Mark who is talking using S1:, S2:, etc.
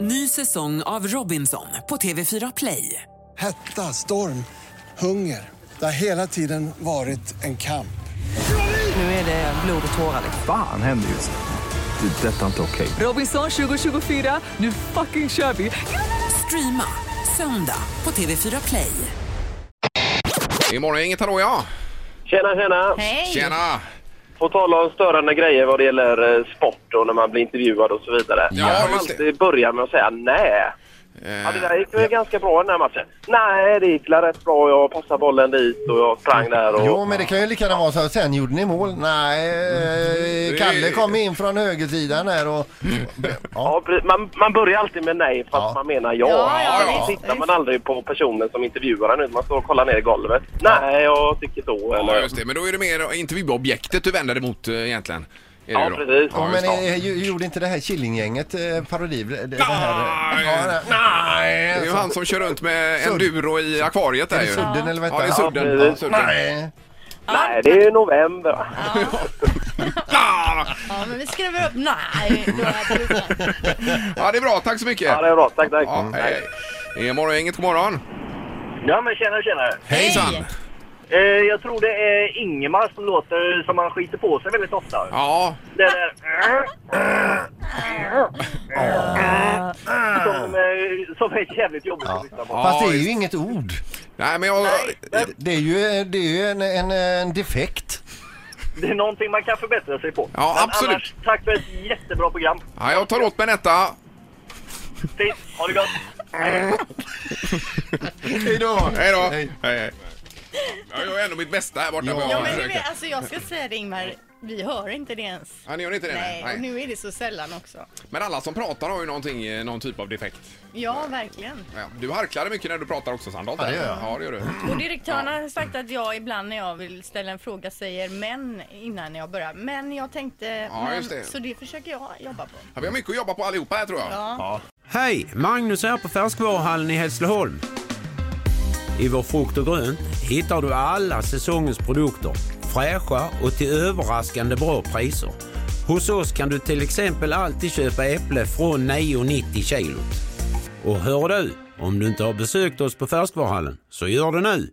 S1: Ny säsong av Robinson på TV4 Play.
S2: Hetta, storm, hunger. Det har hela tiden varit en kamp.
S1: Nu är det blod och tårar. liksom.
S3: Fan händer just nu. Det. är Detta är inte okej.
S1: Robinson 2024, nu fucking kör vi! Streama söndag på TV4 Play.
S4: Imorgon inget hallå ja!
S5: Tjena, tjena!
S6: Hej!
S4: Tjena!
S5: På tal om störande grejer vad det gäller eh, sport och när man blir intervjuad och så vidare.
S4: Ja,
S5: man
S4: just det. Eh,
S5: alltid börjar med att säga nej. Ja, det där gick väl ganska bra i den här matchen. Nej, det gick väl rätt bra. Jag passade bollen dit och jag sprang där och...
S7: Jo, men det kan ju lika gärna vara så här, sen gjorde ni mål. Nej, eh,
S4: Mm.
S7: Kalle kom in från högersidan här och... Ja,
S5: Ja, pre- man, man börjar alltid med nej fast
S7: Ja.
S5: man menar ja.
S6: Ja, ja,
S5: Sen
S6: ja.
S5: tittar man aldrig på personen som intervjuar en utan man står och kollar ner i golvet. Nej, jag tycker så. Eller...
S4: Ja, just det. Men då är det mer intervjuobjektet du vänder dig mot eh, egentligen. Är
S5: Ja,
S4: det då?
S5: precis.
S4: Ja,
S7: men
S4: just det.
S7: eh, ju- gjorde inte det här Killinggänget eh, parodi? Det, det här,
S4: Nej.
S7: Ja, det-
S4: Det är ju han som kör runt med
S7: Sudd.
S4: enduro i akvariet där
S7: Är det
S4: ju.
S7: sudden eller vad
S4: Ja, det är
S7: heter
S4: sudden.
S5: Ja, precis.
S4: Ja, sudden.
S7: Nej.
S5: Nej, det är ju november.
S4: Ah!
S6: Ja, men vi skriver upp nej. Då är det
S4: Ja, det är bra. Tack så mycket.
S5: Ja, det är Mm. bra. Tack, tack.
S4: Ja, hej. Imorgon inget god morgon.
S5: Ja, men tjena, tjena.
S4: Hejsan!
S6: Hej.
S5: Eh, jag tror det är Ingemar som låter som han skiter på sig väldigt ofta.
S4: Ja,
S5: Det där... Som, eh, som är jävligt jobbigt att lyssna på.
S7: Fast det är
S4: just-
S7: ju inget ord.
S4: nej men jag...
S7: Det är ju, det är ju en, en, en defekt.
S5: Det är någonting man kan förbättra sig på.
S4: Ja,
S5: Men
S4: absolut.
S5: Annars, tack för ett jättebra program.
S4: Ja, jag tar åt mig detta.
S5: Fint, ha det gott!
S7: Hejdå!
S4: Hej då! Hej,
S7: Hej.
S4: hej. Jag gör ändå mitt bästa här borta.
S7: Ja.
S4: på
S6: Ja, men du
S4: försöket.
S6: vet, alltså jag ska säga det Ingmar, vi hör inte det ens.
S4: Ja, ni gör inte det?
S6: Nej,
S4: nej.
S6: och nu är det så sällan också.
S4: Men alla som pratar har ju någonting, eh, någon typ av defekt.
S6: Ja, verkligen.
S4: Ja, du harklade mycket när du pratar också Sandholt.
S7: Ja, det gör jag.
S4: Ja, det gör du.
S6: Och direktören har sagt att jag ibland när jag vill ställa en fråga säger men innan jag börjar. Men jag tänkte, men,
S4: just det.
S6: så det försöker jag jobba på.
S4: Ja, vi har mycket att jobba på allihopa här tror jag.
S8: Hej! Magnus här på Färskvaruhallen i Hässleholm. I vår frukt och grönt hittar du alla säsongens produkter. Fräscha och till överraskande bra priser. Hos oss kan du till exempel alltid köpa äpple från 9,90 kilot. Och hör du, om du inte har besökt oss på Färskvaruhallen, så gör det nu!